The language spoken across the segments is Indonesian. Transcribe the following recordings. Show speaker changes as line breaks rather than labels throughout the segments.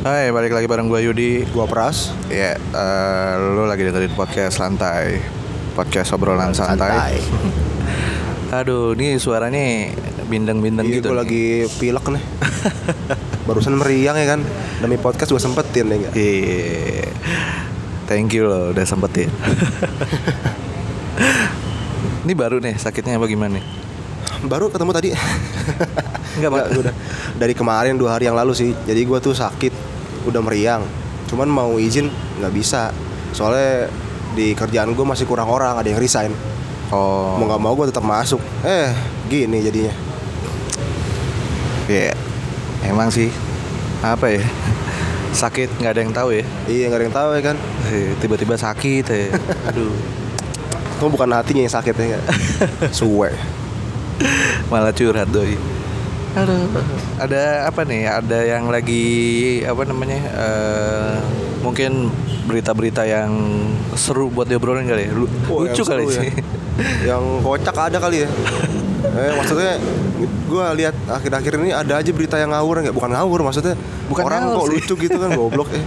Hai, balik lagi bareng gue Yudi
Gua Pras.
Ya, eh, lu lagi dengerin podcast Lantai Podcast obrolan santai, Aduh, ini suaranya bindeng-bindeng
Iya,
gitu
gua
nih.
lagi pilek nih. Barusan meriang ya kan. Demi podcast gua sempetin ya enggak.
Iya Thank you loh, udah sempetin Ini baru nih, sakitnya apa gimana nih?
Baru ketemu tadi.
Enggak, Pak.
gua udah dari kemarin dua hari yang lalu sih. Jadi gua tuh sakit, udah meriang. Cuman mau izin nggak bisa. Soalnya di kerjaan gua masih kurang orang, ada yang resign.
Oh,
Mau nggak mau gua tetap masuk. Eh, gini jadinya.
iya Emang sih, apa ya? Sakit, nggak ada yang tahu ya
Iya, nggak ada yang tahu ya kan.
Eh, Tiba-tiba sakit ya Aduh
Kamu bukan hatinya yang sakit ya enggak. Suwe.
malah curhat doi Aduh. ada apa nih ada yang lagi apa namanya eh, mungkin berita-berita yang seru buat diobrolin kali ya Lu-
Oh,
lucu
yang seru
kali
ya.
sih
Yang kocak ada kali ya. eh maksudnya gue lihat akhir-akhir ini ada aja berita yang ngawur nggak bukan ngawur maksudnya
Bukan
orang
ngawur
kok
sih.
lucu gitu kan goblok eh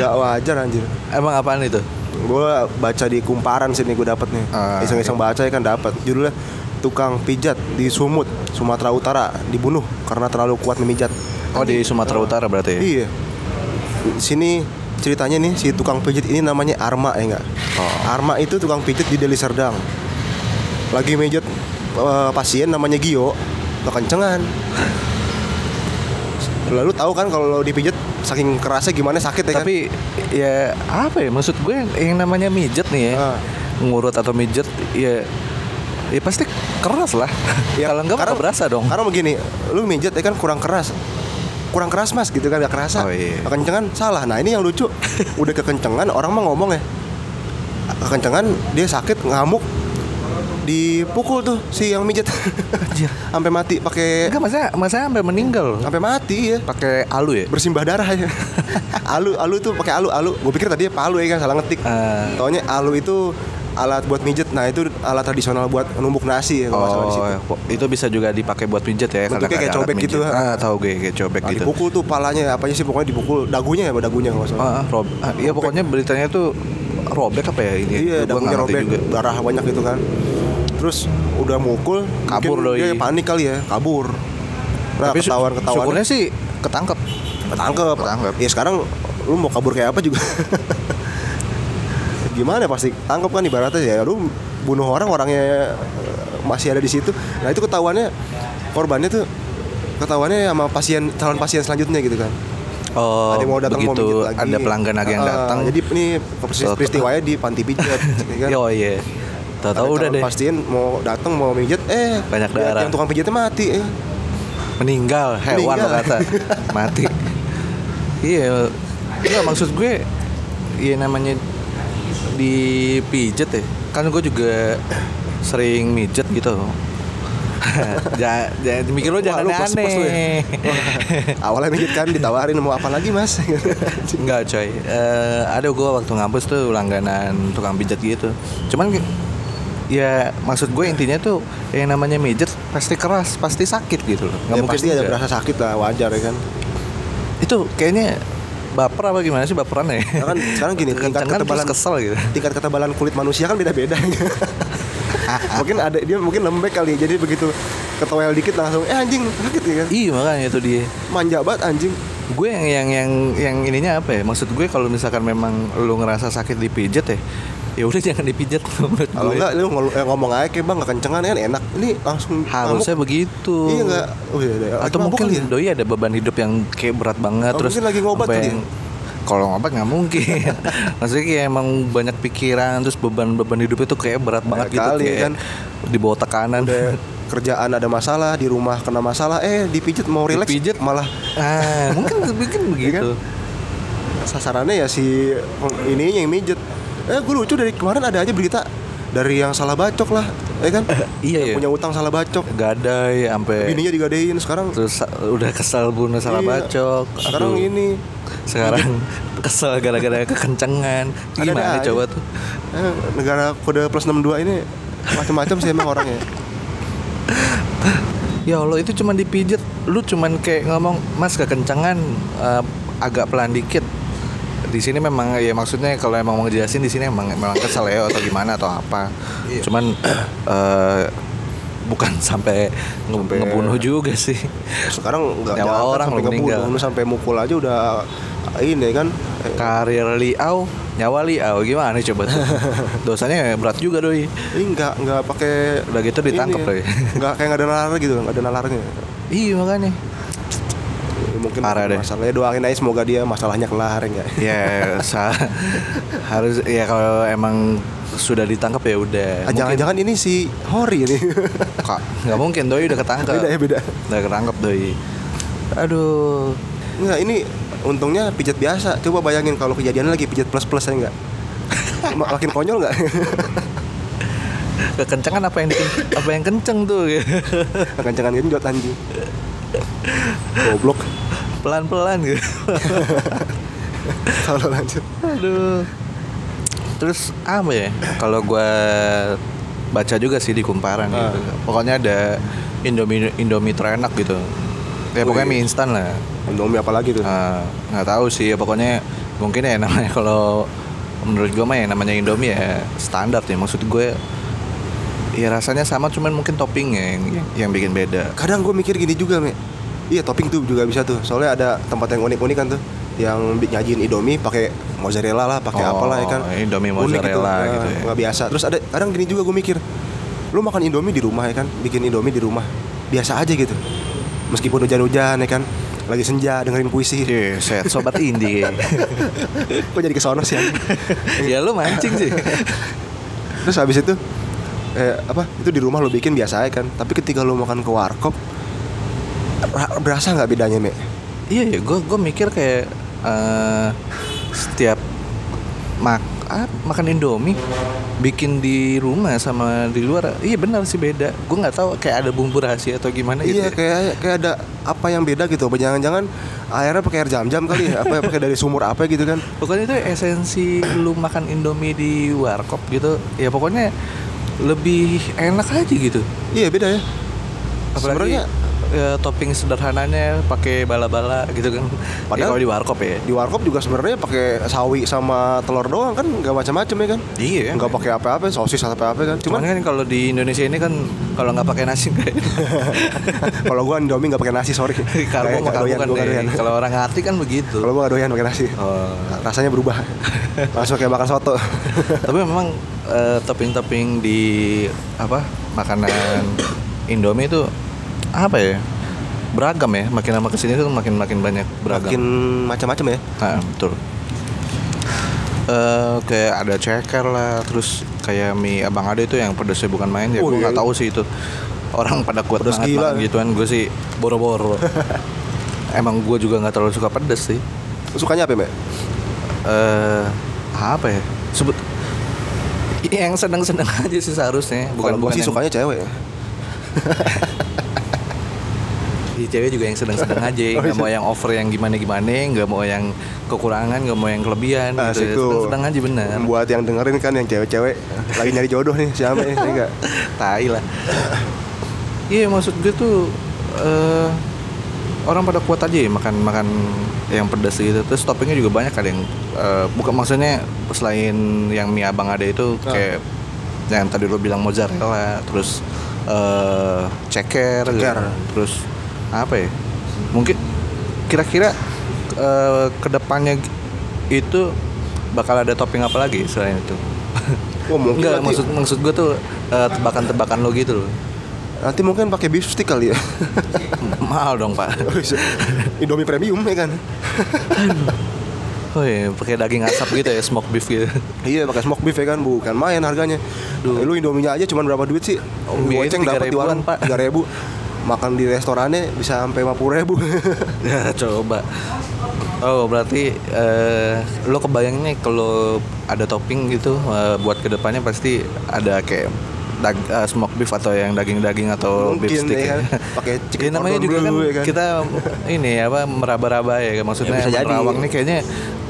nggak wajar anjir
emang apaan itu
gue baca di kumparan sini gue dapet nih
Ah,
iseng-iseng baca ya kan dapet judulnya tukang pijat di Sumut Sumatera Utara dibunuh karena terlalu kuat memijat
oh di Sumatera Utara berarti ya?
Kan Iya. Sini ceritanya nih si tukang pijit ini namanya Arma ya enggak?
Oh.
Arma itu tukang pijit di Deli Serdang. Lagi mijit eh, pasien namanya Gio, kekencengan. Lalu tahu kan kalau dipijit saking kerasnya gimana sakit ya kan?
tapi ya apa ya maksud gue yang namanya mijet nih ya
Ah.
ngurut atau mijet ya ya pasti keras lah
Ya,
kalau enggak nggak berasa dong
Karena begini, lu mijit ya kan kurang keras. Kurang keras mas gitu kan gak kerasa.
Oh, iya.
Kekencengan salah. Nah ini yang lucu. Udah kekencengan orang mah ngomong ya. Kekencengan dia sakit ngamuk dipukul tuh si yang mijit
Anjir.
sampai mati pakai
enggak masa masa sampai meninggal
sampai mati ya
pakai alu ya
bersimbah darah ya alu alu tuh pakai alu alu gue pikir tadi palu ya kan salah ngetik
Ah.
taunya alu itu alat buat mijet nah itu alat tradisional buat numbuk nasi ya kalau nggak salah di situ
Oh, itu bisa juga dipakai buat pinjet ya
Bentuknya kayak
kadang-kadang
cobek
alat
gitu,
pijat.
ha?
Ah, tahu gue kayak cobek
Nah,
gitu.
dipukul tuh palanya apanya sih pokoknya dipukul dagunya ya Pak? dagunya kalau nggak
Ah,
salah
ah, rob. ah, iya pokoknya beritanya tuh robek apa ya ini?
iya
Gua nggak
dagunya
ngerti
robek darah banyak gitu kan terus udah mukul
Kabur
mungkin
doi.
dia panik kali ya kabur nah
Tapi
ketahuan ketahuan
Syukurnya sih ketangkep.
ketangkep
Ketangkep.
ya sekarang lu mau kabur kayak apa juga gimana pasti tangkep kan ibaratnya ya lu bunuh orang orangnya eh, masih ada di situ nah itu ketahuannya korbannya tuh ketahuannya sama pasien calon pasien selanjutnya gitu kan
Oh,
ada yang mau datang mau
begitu
mijit lagi.
ada pelanggan lagi yang
Ah,
datang.
jadi ini persis
So,
peristiwanya di panti pijat ya kan.
Yo iya. Tahu-tahu udah deh
Pastiin mau datang mau pijat eh
Banyak
lihat
darah.
Yang tukang pijatnya mati eh.
meninggal hewan lo
Meninggal.
kata mati. Iya, iya maksud gue iya namanya dipijet ya. Kan gue juga sering mijet gitu. jangan, jangan mikir lo jangan
lu
aneh.
pos-pos lu ya. Awalnya pijat kan ditawarin mau apa lagi Mas.
Enggak coy Eh, Ada gue waktu ngampus tuh langganan tukang pijat gitu Cuman ya maksud gue intinya tuh Yang namanya mijet pasti keras, pasti sakit gitu loh Nggak
ya,
mungkin
pasti ada
enggak.
berasa sakit lah wajar ya kan.
Itu kayaknya baper apa gimana sih baperan ya
Karena kan sekarang gini tingkat
Kencengan terus
ketebalan
kesel gitu
tingkat ketebalan kulit manusia kan beda-beda. mungkin ada dia mungkin lembek kali jadi begitu ketowel dikit langsung eh anjing sakit ya kan.
Iya makanya itu dia
Manja banget anjing.
gue yang yang yang yang ininya apa ya maksud gue kalau misalkan memang lu ngerasa sakit dipijet ya ya udah jangan dipijet menurut
Kalau
gue
enggak lu ngol- eh, ngomong aja kayak bang gak kencengan ya kan enak. Ini langsung ngamuk.
harusnya begitu
Iya enggak. Oh iya, iya.
Gitu. atau
Mabuk
mungkin
kali ya?
doi ada beban hidup yang kayak berat banget
Oh,
terus
mungkin lagi ngobat
sampai
kali
yang- kalau ngobat nggak mungkin maksudnya kayak emang banyak pikiran terus beban-beban hidup itu kayak berat banget gitu
kali,
kayak
kan.
di bawah tekanan
Udah kerjaan ada masalah, di rumah kena masalah, eh dipijit mau relax
Dipijit.
malah
ah mungkin mungkin kan? begitu
sasarannya ya si ininya yang mijet. Eh gue lucu dari kemarin ada aja berita dari yang salah bacok lah, ya kan?
Iya,
Yang
iya.
Punya utang salah bacok,
gadai sampai
bininya digadein sekarang.
terus sa- udah kesal bunuh salah
Iya.
bacok
Sekarang
Aduh.
ini
sekarang kesel gara-gara kekencengan
Ada-ada
gimana
aja.
coba tuh
eh, negara kode plus 62 ini macam-macam sih emang orangnya.
ya allah itu cuman dipijet lu cuman kayak ngomong mas kekencengan eh, agak pelan dikit di sini memang ya maksudnya kalau emang mau ngejelasin di sini emang memang kesel ya atau gimana atau apa cuman eh, bukan sampai nge- ngebunuh juga sih
sekarang nggak
Nyawa
diangkat
orang
sampai
belum
ngebunuh,
meninggal.
lu sampai mukul aja udah ini kan Eh,
karir Liao nyawa Liao gimana coba tuh dosanya berat juga doi
ini nggak nggak pakai
Udah gitu ditangkap
ini,
lagi.
nggak kayak nggak ada nalar gitu nggak ada nalarnya
iya makanya
Ya, mungkin
Parah deh.
masalahnya doain aja semoga dia masalahnya kelar enggak
ya sa- harus ya kalau emang sudah ditangkap ya udah Mungkin-
Ah, jangan-jangan ini si Hori ini
Kak, nggak mungkin doi udah ketangkep.
Beda ya, beda.
Udah ketangkep doi. Aduh.
Enggak, ini untungnya pijat biasa. Coba bayangin kalau kejadiannya lagi pijat plus-plus ya enggak? Mak- Makin konyol enggak?
Kekencengan apa yang diken- apa yang kenceng tuh.
Kencangan gendut anjing. Goblok.
Pelan-pelan gitu.
Kalau lanjut.
Aduh. Terus apa ya? Kalau gua baca juga sih di kumparan
Ah.
gitu. Pokoknya ada Indomie Indomie terenak gitu. Ya pokoknya mie instan lah.
Indomie apa lagi tuh?
Nah, nggak tahu sih ya pokoknya mungkin ya namanya kalau menurut gue mah ya namanya Indomie ya standar ya maksud gue ya rasanya sama cuman mungkin toppingnya yang yang bikin beda
Kadang gue mikir gini juga, Me. Iya, topping tuh juga bisa tuh. Soalnya ada tempat yang unik-unik kan tuh yang bi- nyajiin Indomie pakai mozzarella lah, pakai
Oh,
apalah ya kan.
Indomie
Unik
mozzarella
Nah,
gitu ya.
nggak biasa. Terus ada kadang gini juga gue mikir. Lu makan Indomie di rumah ya kan, bikin Indomie di rumah. Biasa aja gitu. Meskipun hujan-hujan ya kan, lagi senja dengerin puisi.
Iya, set sobat indie.
Kok jadi kesono sih anjing?
ya lu mancing sih.
Terus habis itu eh, apa itu di rumah lo bikin biasa aja kan tapi ketika lo makan ke warkop ra- berasa nggak bedanya me
Iya ya, gue gue mikir kayak eh, setiap mak ah, makan Indomie bikin di rumah sama di luar iya benar sih beda gue nggak tahu kayak ada bumbu rahasia atau gimana gitu
iya
ya.
kayak kayak ada apa yang beda gitu apa jangan-jangan airnya pakai air jam-jam kali ya apa pakai dari sumur apa gitu kan
Pokoknya itu esensi lu makan Indomie di warkop gitu. Ya pokoknya lebih enak aja gitu.
iya beda ya
Apalagi
sebenarnya
ya, topping sederhananya pakai bala-bala gitu kan.
Padahal-
Padahal kalau di warkop ya.
di warkop juga sebenarnya pakai sawi sama telur doang kan nggak macam-macam ya kan
Iya.
nggak pakai apa-apa sosis atau apa-apa kan
Cuman,
cuman
kan kalau di Indonesia ini kan kalau nggak pakai nasi kayak
kalau gua indomie nggak pakai nasi sorry
karbo
kan Nggak-
mah
nggak doyan, iya,
kan
gua nggak doyan.
Kalau orang hati kan begitu.
kalau gua nggak doyan pakai nasi
Oh.
rasanya berubah langsung kayak makan soto
Tapi memang eh, topping-topping di apa makanan Indomie itu apa ya? Beragam ya, makin lama kesini tuh makin makin banyak beragam.
makin macam-macam ya
Nah, betul. Eh, kayak ada ceker lah, terus kayak mie abang ada itu yang pedesnya bukan main ya.
Oh,
gue
iya,
nggak
iya.
tahu sih itu orang pada kuat
Pedes
banget
gila.
makan gituan. Gue sih boro-boro. Emang gue juga nggak terlalu suka pedes sih.
sukanya apa ya
eh apa ya sebut Ini yang seneng-seneng aja sih seharusnya
bukan
bukan
gue
bukan
sih
yang-
sukanya cewek ya
Iya, cewek juga yang seneng-seneng aja
Oh, iya.
nggak mau yang over yang gimana-gimana nggak mau yang kekurangan nggak mau yang kelebihan
Ah,
gitu
situ.
seneng aja bener
buat yang dengerin kan yang cewek-cewek lagi nyari jodoh nih siapa nih ya enggak
tai lah iya maksud gue tuh eh, orang pada kuat aja ya makan makan yang pedas gitu terus toppingnya juga banyak ada yang eh, bukan maksudnya selain yang mie abang ada itu
Ah.
kayak yang tadi lo bilang mozzarella terus eh, ceker, gitu.
Ceker.
terus apa ya mungkin kira-kira eh, kedepannya itu bakal ada topping apa lagi selain itu
Wah, Oh, mungkin
Enggak,
nanti-
maksud maksud gue tuh eh, tebakan-tebakan lo gitu loh.
nanti mungkin pakai beef stick kali ya
Mahal dong, Pak.
Indomie premium ya kan
Oh iya, pakai daging asap gitu ya, smoke beef gitu.
iya pakai smoke beef ya kan bukan main harganya Eh, lu indominya aja cuman berapa duit sih
Oh, iya,
goceng
itu
dapat di
3.000-an,
warung
Pak.
tiga ribu makan di restorannya bisa sampai lima puluh ribu
ya, coba. Oh, berarti eh, lo kebayangnya kalau ada topping gitu eh, buat kedepannya pasti ada kayak dag- eh, smoke beef atau yang daging-daging atau beef
Mungkin,
stick
ya
ya.
kan? Pakai chicken
Ya, namanya
cordon
juga kan,
bleu, ya kan?
kita ini apa meraba-raba ya maksudnya
Ya, bisa jadi.
menerawang nih kayaknya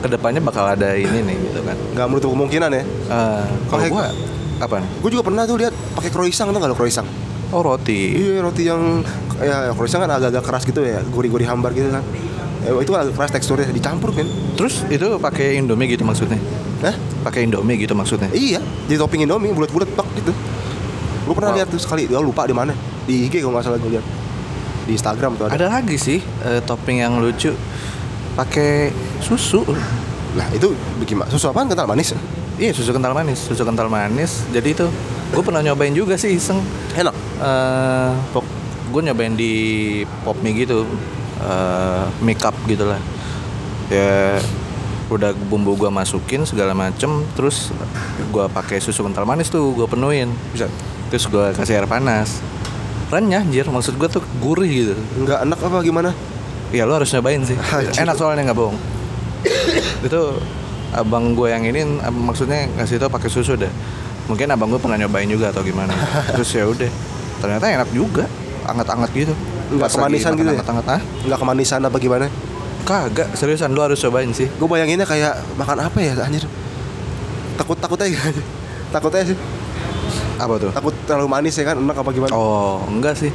kedepannya bakal ada ini nih gitu kan.
nggak menutup kemungkinan ya
Eh, kalau
Pakai-
gua apa nih?
gue juga pernah tuh lihat pakai croissant tuh nggak lo croissant
Oh roti.
Iya roti yang ya croissant kan agak-agak keras gitu ya, gurih-gurih ya, hambar gitu kan. Eh, itu agak keras teksturnya dicampur kan?
Terus itu pakai Indomie gitu maksudnya?
Hah?
Pakai Indomie gitu maksudnya?
Iya, jadi topping Indomie bulat-bulat pak gitu. Lu pernah
Wow.
lihat tuh sekali, gua lupa di mana. Di IG kalau nggak salah gue lihat. Di Instagram tuh ada.
Ada lagi sih eh, topping yang lucu pakai susu.
Nah, itu bagaimana? Susu apaan kental manis? ya?
Iya susu kental manis, susu kental manis. Jadi itu gue pernah nyobain juga sih iseng.
Enak.
eh pop, gue nyobain di pop mie gitu, eh make up gitu lah. Ya udah bumbu gua masukin segala macem, terus gua pakai susu kental manis tuh gua penuhin.
Bisa.
Terus gua kasih air panas. Renyah anjir, maksud gua tuh gurih gitu.
Nggak enak apa gimana?
Ya lo harus nyobain sih.
Anjir.
Enak soalnya nggak bohong. itu abang gue yang ini ab- maksudnya ngasih tau pakai susu deh. Mungkin abang gue pernah nyobain juga atau gimana. Terus ya udah. Ternyata enak juga. Anget-anget gitu.
Nggak kemanisan gitu ya?
Anget -anget. Ah,
Nggak kemanisan apa gimana?
kagak. Seriusan lo harus cobain sih.
Gue bayanginnya kayak makan apa ya anjir. Takut-takut aja. Takut aja sih.
Apa tuh?
Takut terlalu manis ya kan, enak apa gimana?
Oh enggak sih.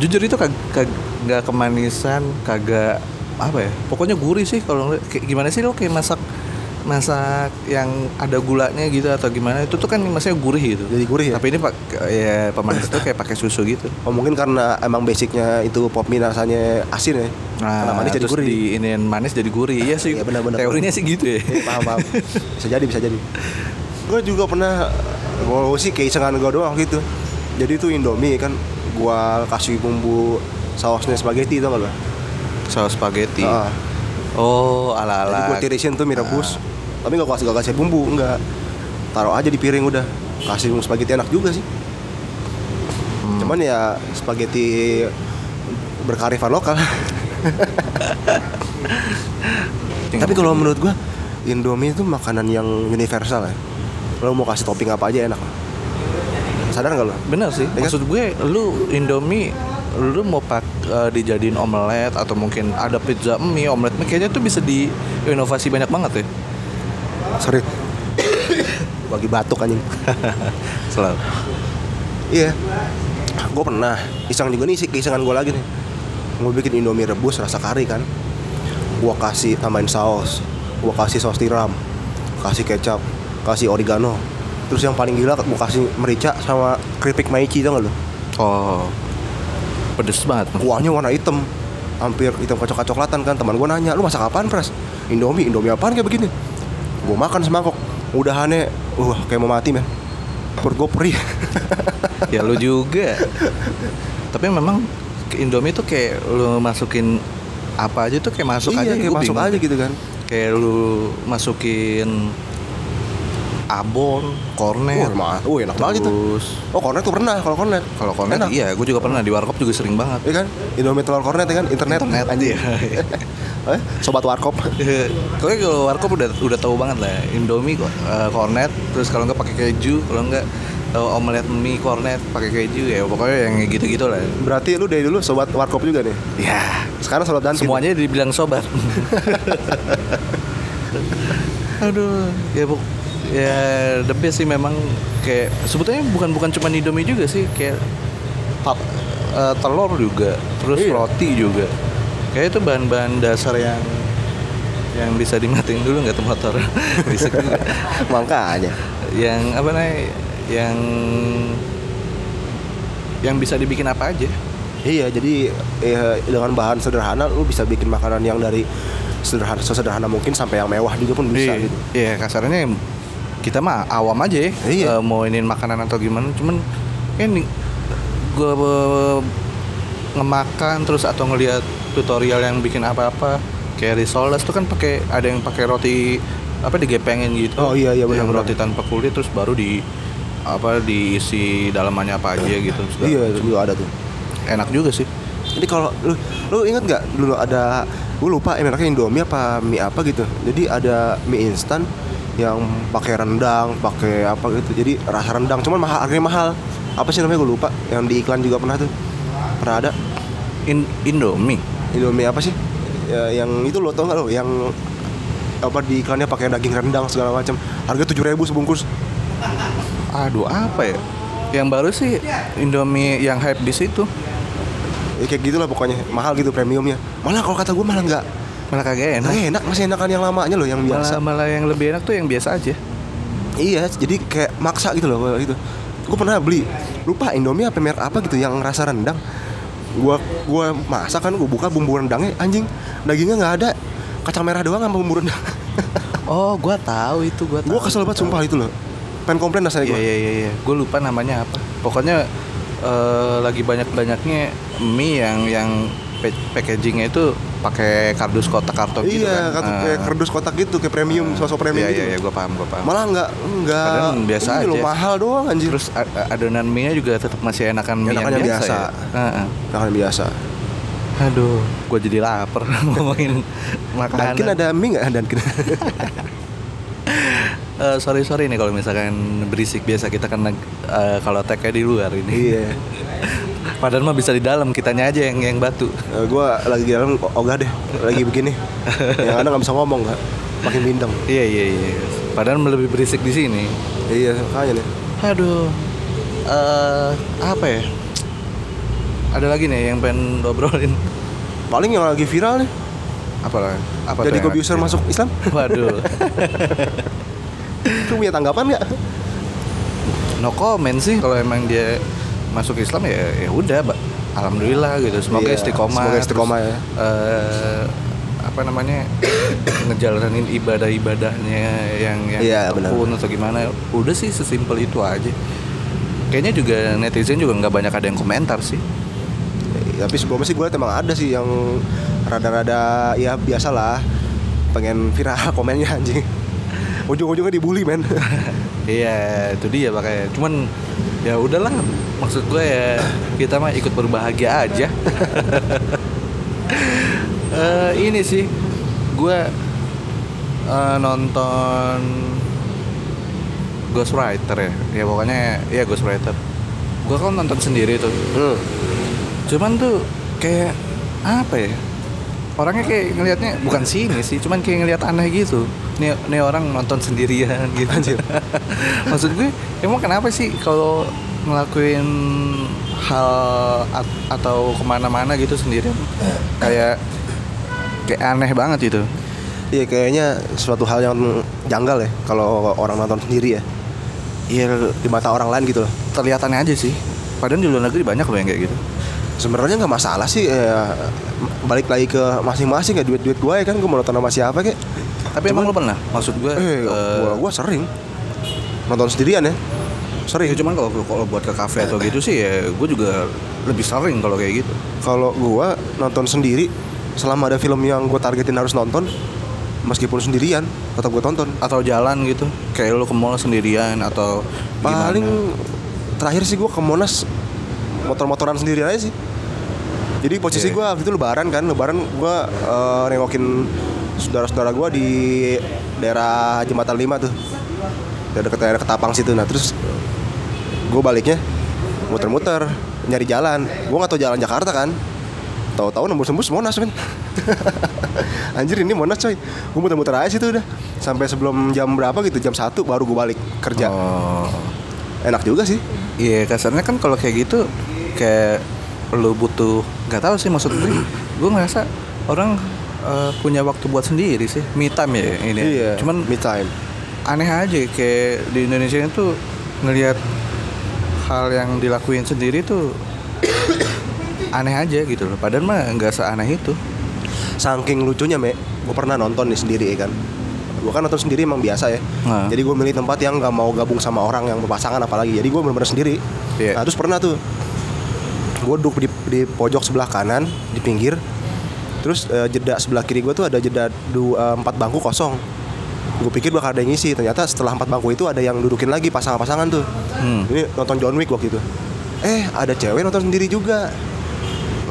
Jujur itu kag kag- nggak kemanisan, kagak apa ya. Pokoknya gurih sih kalau ngeliat. Kayak gimana sih lo kayak masak masak yang ada gulanya gitu atau gimana itu tuh kan maksudnya gurih gitu.
Jadi gurih ya?
Tapi ini pak ya pemanis itu kayak pakai susu gitu.
Oh mungkin karena emang basicnya itu pop mie rasanya asin ya. karena manis
Ah, Nah,
jadi
terus
gurih.
Di, ini manis jadi gurih. Iya sih.
Iya, benar-benar.
Teorinya sih gitu ya.
Iya, paham paham. Bisa jadi bisa jadi. Gue juga pernah gue sih keisengan gue doang gitu. Jadi itu Indomie kan gua kasih bumbu sausnya spaghetti tau gak lo?
Saus spaghetti.
Ah.
Oh,
Jadi
ala-ala.
gue tirisin tuh mie rebus.
Ah.
Tapi gak kasih gak kasih bumbu enggak. Taruh aja di piring udah. Kasih bumbu spaghetti enak juga sih.
Hmm.
Cuman ya spaghetti berkarifan lokal.
Tinggal-
Tapi kalau menurut gua Indomie itu makanan yang universal ya. Lo mau kasih topping apa aja enak. Sadar nggak lo?
Bener sih.
kan?
Maksud gue, lu Indomie, lu mau pak eh, dijadiin omelet atau mungkin ada pizza mie, omelet mie, kayaknya tuh bisa diinovasi banyak banget ya.
Sorry. Bagi batuk anjing.
Selalu.
Iya. Gue pernah iseng juga nih sih keisengan gue lagi nih. Gue bikin Indomie rebus rasa kari kan. Gua kasih tambahin saus. Gua kasih saus tiram. Kasih kecap, kasih oregano. Terus yang paling gila gua kasih merica sama keripik maici tau gak lo?
Oh, pedes banget.
kuahnya warna hitam hampir hitam kacok coklatan kan teman gue nanya lu masak apaan pres indomie indomie apaan kayak begini gue makan semangkok udahannya wah kayak mau mati men perut gue perih
ya lu juga. Tapi memang ke Indomie tuh kayak lu masukin apa aja tuh kayak masuk aja.
iya, kayak
gue
masuk
bingung.
aja gitu kan
Kayak lu masukin abon, kornet.
Wah, ma- wah, enak banget itu.
Terus,
oh kornet tuh pernah kalau kornet
kalau kornet
Enak.
iya, gue juga pernah di warkop juga sering banget.
Iya kan indomie telur kornet ya kan internet,
Internet
anjing
iya.
Eh, sobat warkop
Eh, Pokoknya kalau warkop udah udah tahu banget lah Indomie ko- eh, kornet terus kalau nggak pakai keju kalau nggak eh, omelet mie kornet pakai keju ya pokoknya yang gitu gitu lah
berarti lu dari dulu sobat warkop juga nih
ya
sekarang sobat dan
semuanya dibilang sobat aduh ya bu ya the best sih memang kayak sebetulnya bukan bukan cuma Indomie juga sih kayak pap, eh, telur juga terus
Iya.
roti juga kayak itu bahan-bahan dasar yang yang bisa dimatiin dulu nggak tuh motor Risik juga.
makanya
yang apa namanya yang yang bisa dibikin apa aja
Iya, jadi ya, dengan bahan sederhana lu bisa bikin makanan yang dari sederhana sesederhana mungkin sampai yang mewah juga pun bisa
Iya,
gitu.
Iya, kasarnya kita mah awam aja ya.
Iya.
eh, mau iniin makanan atau gimana, cuman ya ini gue ngemakan terus atau ngelihat tutorial yang bikin apa-apa kayak risoles tuh kan pakai ada yang pakai roti apa digepengin gitu.
Oh, iya, iya,
Yang
benar-benar.
roti tanpa kulit terus baru di apa diisi dalamannya apa aja gitu. segala
Iya,
macam.
itu juga ada tuh.
Enak juga sih.
Jadi kalau lu lu ingat nggak dulu ada gue lupa eh, mereknya Indomie apa mie apa gitu. Jadi ada mie instan yang pakai rendang, pakai apa gitu. Jadi rasa rendang cuman mahal harganya mahal. Apa sih namanya gue lupa. Yang di iklan juga pernah tuh. Pernah ada
In- Indomie.
Indomie apa sih? Ya, yang itu lo tau nggak lo yang apa di iklannya pakai daging rendang segala macam harga tujuh ribu sebungkus
Aduh, apa ya? Yang baru sih Indomie yang hype di situ.
ya kayak gitulah pokoknya mahal gitu premiumnya malah gitu kalau kata gue malah nggak
malah kagak
Nah,
enak
enak masih enakan yang lamanya loh yang
malah
biasa.
malah yang lebih enak tuh yang biasa aja
Iya, jadi kayak maksa gitu loh kalau gitu. Gue pernah beli lupa Indomie apa merek apa gitu yang rasa rendang. Gua gua masak kan gua buka bumbu rendangnya anjing dagingnya nggak ada kacang merah doang sama bumbu rendang.
oh gua tahu itu gua tahu
gua kesel banget sumpah itu loh. Pengen komplain rasanya
Iya
gua.
iya iya iya. Gue lupa namanya apa. Pokoknya eh, lagi banyak-banyaknya mie yang yang pa- packagingnya itu pakai kardus kotak karton gitu
Iya,
kan.
kata kayak
Eh,
kardus kotak gitu kayak premium, sosok premium
Iya
gitu.
iya iya gue paham gue paham.
Malah nggak nggak
Padahal biasa
ini loh,
aja.
mahal doang anjir.
Terus a- a- adonan mie-nya juga tetap masih enakan mie
Enakan yang
yang biasa.
biasa.
ya? Heeh.
Makanan Nah, biasa.
Aduh, gue jadi lapar ngomongin makanan.
Dunkin ada mie nggak Dunkin?
Eh, sorry sorry nih kalau misalkan berisik biasa kita kan eh, kalau tag di luar ini.
iya.
Padahal mah bisa di dalam, kitanya aja yang yang batu.
Eh, gua lagi di dalam o- ogah deh, lagi begini. Yang ada nggak bisa ngomong nggak, makin bintang.
Iya iya iya. Padahal lebih berisik di sini.
Iya, makanya nih.
Aduh. Eh apa ya? Ada lagi nih yang pengen lo obrolin.
Paling yang lagi viral nih,
Apa lah? Apa
jadi
tuh yang
kobiuser
ada?
masuk Islam.
Waduh.
Itu punya tanggapan nggak?
no comment sih kalau emang dia masuk Islam ya ya udah, Mbak. Alhamdulillah gitu. Semoga
Iya,
istiqomah.
semoga istiqomah
terus,
ya.
eh, apa namanya ngejalanin ibadah-ibadahnya yang yang
Iya,
tekun atau gimana udah sih sesimpel itu aja kayaknya juga netizen juga nggak banyak ada yang komentar sih
Eh, Tapi sebelumnya sih gue liat emang ada sih yang rada-rada ya biasalah pengen viral komennya anjing. Ujung-ujungnya dibully men.
Iya, itu dia makanya. Cuman ya udahlah, maksud gue ya kita mah ikut berbahagia aja. Eh, ini sih, gue eh, nonton Ghostwriter ya, ya pokoknya ya Ghostwriter. Gue kan nonton sendiri tuh.
hmm.
Cuman tuh kayak apa ya? Orangnya kayak ngelihatnya bukan sini sih, cuman kayak ngelihat aneh gitu. Nih, nih orang nonton sendirian gitu.
Anjir.
Maksud gue, emang kenapa sih kalau ngelakuin hal at- atau kemana-mana gitu sendirian? Kayak kayak aneh banget gitu.
Iya kayaknya suatu hal yang janggal ya kalau orang nonton sendiri ya. Iya di mata orang lain gitu loh.
Terlihatannya aja sih. Padahal di luar negeri banyak loh yang kayak gitu.
sebenarnya nggak masalah sih ya, balik lagi ke masing-masing ya duit-duit gue ya kan gue mau nonton sama siapa kek
Tapi emang lo pernah? Maksud gue,
eh
eh,
gua gue sering nonton sendirian ya
ya
sering
cuman kalau kalau buat ke kafe atau gitu sih ya gue juga lebih sering kalau kayak gitu.
kalau gue nonton sendiri selama ada film yang gue targetin harus nonton meskipun sendirian tetap gue tonton
atau jalan gitu kayak lu ke mall sendirian atau
paling
gimana?
terakhir sih gue ke Monas motor-motoran sendirian aja sih jadi posisi
Iya.
gue waktu itu lebaran kan lebaran gue eh, nengokin saudara-saudara gue di daerah jembatan 5 tuh daerah deket daerah Ketapang situ nah terus gue baliknya muter-muter nyari jalan gue nggak tahu jalan Jakarta kan tahu-tahu nembus-nembus Monas men anjir ini Monas coy gue muter-muter aja situ udah sampai sebelum jam berapa gitu jam 1 baru gue balik kerja
oh
enak juga sih
iya kasarnya kan kalau kayak gitu kayak lu butuh nggak tahu sih maksud gue gue ngerasa orang eh, punya waktu buat sendiri sih me time ya ini
Iya.
cuman
me time
aneh aja kayak di Indonesia itu ngelihat hal yang dilakuin sendiri tuh aneh aja gitu loh padahal mah nggak seaneh itu
saking lucunya me gue pernah nonton nih sendiri ya kan gue kan nonton sendiri emang biasa ya
Nah.
jadi gue milih tempat yang gak mau gabung sama orang yang berpasangan apalagi jadi gue bener-bener sendiri
Iya.
nah terus pernah tuh gue duduk di, di pojok sebelah kanan di pinggir terus eh, jeda sebelah kiri gue tuh ada jeda du, eh, empat bangku kosong gue pikir bakal ada yang ngisi ternyata setelah empat bangku itu ada yang dudukin lagi pasangan-pasangan tuh
Hmm.
ini nonton John Wick waktu itu eh ada cewek nonton sendiri juga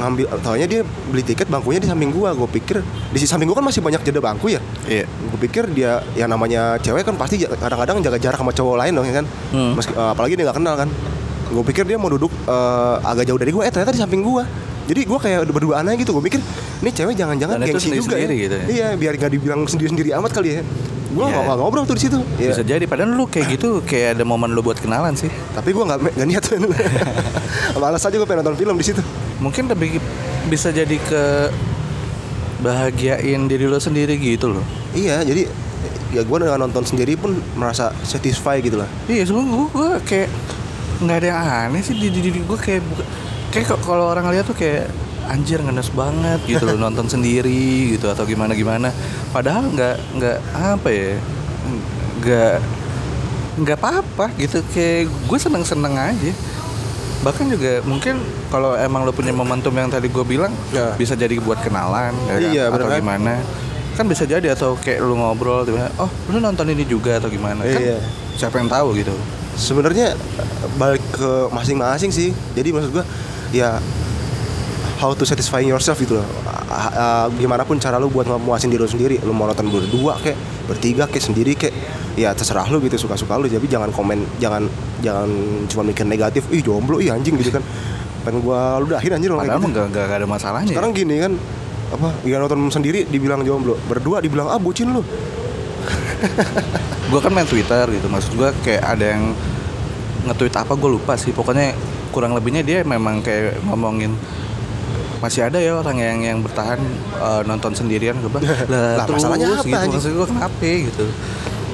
ngambil taunya dia beli tiket bangkunya di samping gua gue pikir di si- samping gua kan masih banyak jeda bangku ya
iya
gue pikir dia ya namanya cewek kan pasti ja- kadang-kadang jaga jarak sama cowok lain dong ya kan
Hmm.
Meski- eh, apalagi dia nggak kenal kan gue pikir dia mau duduk eh, agak jauh dari gue eh ternyata di samping gue jadi gue kayak berduaan aja gitu gue pikir ini cewek jangan-jangan
Dan itu
gengsi juga ya.
sendiri-sendiri gitu ya.
iya biar nggak dibilang sendiri-sendiri amat kali ya gue
Iya.
nggak ngobrol tuh di situ Iya.
bisa jadi padahal lu kayak gitu kayak ada momen lu buat kenalan sih
tapi gue nggak nggak niat malas aja gue pengen nonton film di situ
mungkin lebih bisa jadi ke bahagiain diri lo sendiri gitu loh
Iya, jadi ya gue dengan nonton sendiri pun merasa satisfy gitu lah.
Iya, semua gue, gue kayak nggak ada yang aneh sih di di diri gue kayak buka- kayak kok kalau orang lihat tuh kayak anjir ngenes banget gitu loh nonton sendiri gitu atau gimana gimana. Padahal nggak nggak apa ya nggak nggak apa-apa gitu kayak gue seneng-seneng aja. Bahkan juga mungkin kalau emang lo punya momentum yang tadi gue bilang
Ya.
bisa jadi buat kenalan ya kan?
Iya, bener
atau
kan?
gimana kan bisa jadi atau kayak lu ngobrol tiba oh lu nonton ini juga atau gimana kan
Iya.
siapa yang tahu gitu
Sebenarnya balik ke masing-masing sih. Jadi maksud gue ya how to satisfy yourself gitu loh. Ah, ah, gimana pun cara lu buat memuasin diri lu sendiri. Lu mau nonton berdua kek, bertiga kek, sendiri kek. Ya terserah lu gitu, suka-suka lu. Jadi jangan komen, jangan jangan cuma mikir negatif. Ih jomblo, ih anjing gitu kan. Pengen gua ludahin anjir orang kayak
padahal
gitu.
mah nggak nggak ada masalahnya
Sekarang gini kan apa gak nonton sendiri dibilang jomblo berdua dibilang ah bucin lu
gue kan main Twitter gitu maksud gue kayak ada yang nge-tweet apa gue lupa sih pokoknya kurang lebihnya dia memang kayak ngomongin masih ada ya orang yang yang bertahan eh, nonton sendirian gue bilang lah
Lah,
terus
masalahnya apa,
gitu
anjing?"
maksud gue kenapa gitu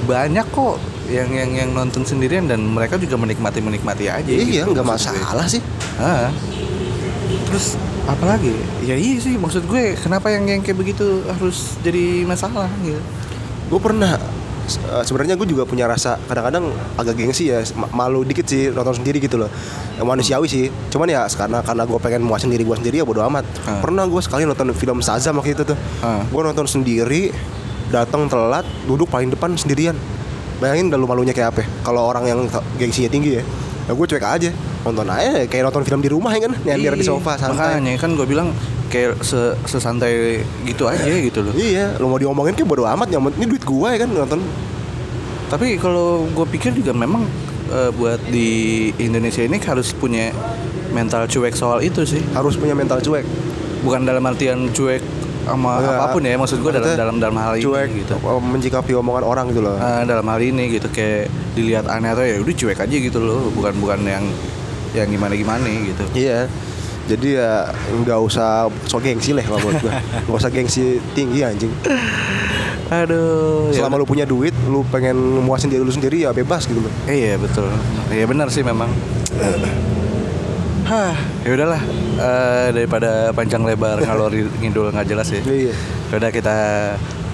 banyak kok yang yang yang nonton sendirian dan mereka juga menikmati menikmati aja
iya
gitu,
nggak
maksud gue.
masalah sih
Ah. Terus apalagi? Ya iya sih maksud gue kenapa yang yang kayak begitu harus jadi masalah gitu.
gue pernah se- eh, sebenarnya gue juga punya rasa kadang-kadang agak gengsi ya ma- malu dikit sih nonton sendiri gitu loh Eh, manusiawi sih cuman ya karena karena gue pengen muasin diri gue sendiri ya bodo amat
Ah.
pernah gue sekali nonton film Shazam waktu itu tuh
Ah.
gue nonton sendiri datang telat duduk paling depan sendirian bayangin udah lu malunya kayak apa ya? kalau orang yang t- gengsinya tinggi ya ya gue cuek aja nonton aja kayak nonton film di rumah ya kan nyender di
Iya,
sofa santai
Makanya kan gue bilang kayak se sesantai gitu aja gitu loh.
Iya, lo mau diomongin kayak bodo amat nyaman. Ini duit gua ya kan nonton.
Tapi kalau gue pikir juga memang eh, buat di Indonesia ini harus punya mental cuek soal itu sih.
Harus punya mental cuek.
Bukan dalam artian cuek sama
Enggak,
apapun ya maksud gue dalam
maksudnya
dalam dalam hal
cuek
ini gitu.
eh, menjikapi omongan orang gitu loh.
Eh, dalam hal ini gitu kayak dilihat aneh atau ya udah cuek aja gitu loh bukan bukan yang yang gimana gimana gitu
Iya. Jadi ya nggak usah so gengsi lah kalau menurut gua. Nggak usah gengsi tinggi anjing.
aduh ya
Selama lu punya duit, lu pengen muasin diri lu sendiri ya bebas gitu loh.
udah. iya betul iya benar sih memang hah ya udahlah eh, daripada panjang lebar ngalor ngidul nggak jelas ya
Iya.
Udah kita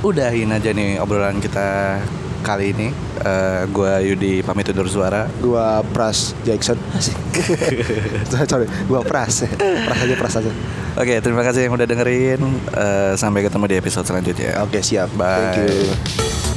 udahin aja nih obrolan kita kali ini Eh, gua Yudi pamit undur suara
Gua Pras Jackson. Asik. sorry, sorry, gua Pras. Pras aja, Pras aja.
Oke, terima kasih yang udah dengerin. Eh, sampai ketemu di episode selanjutnya.
Oke, siap.
Bye.
Thank you.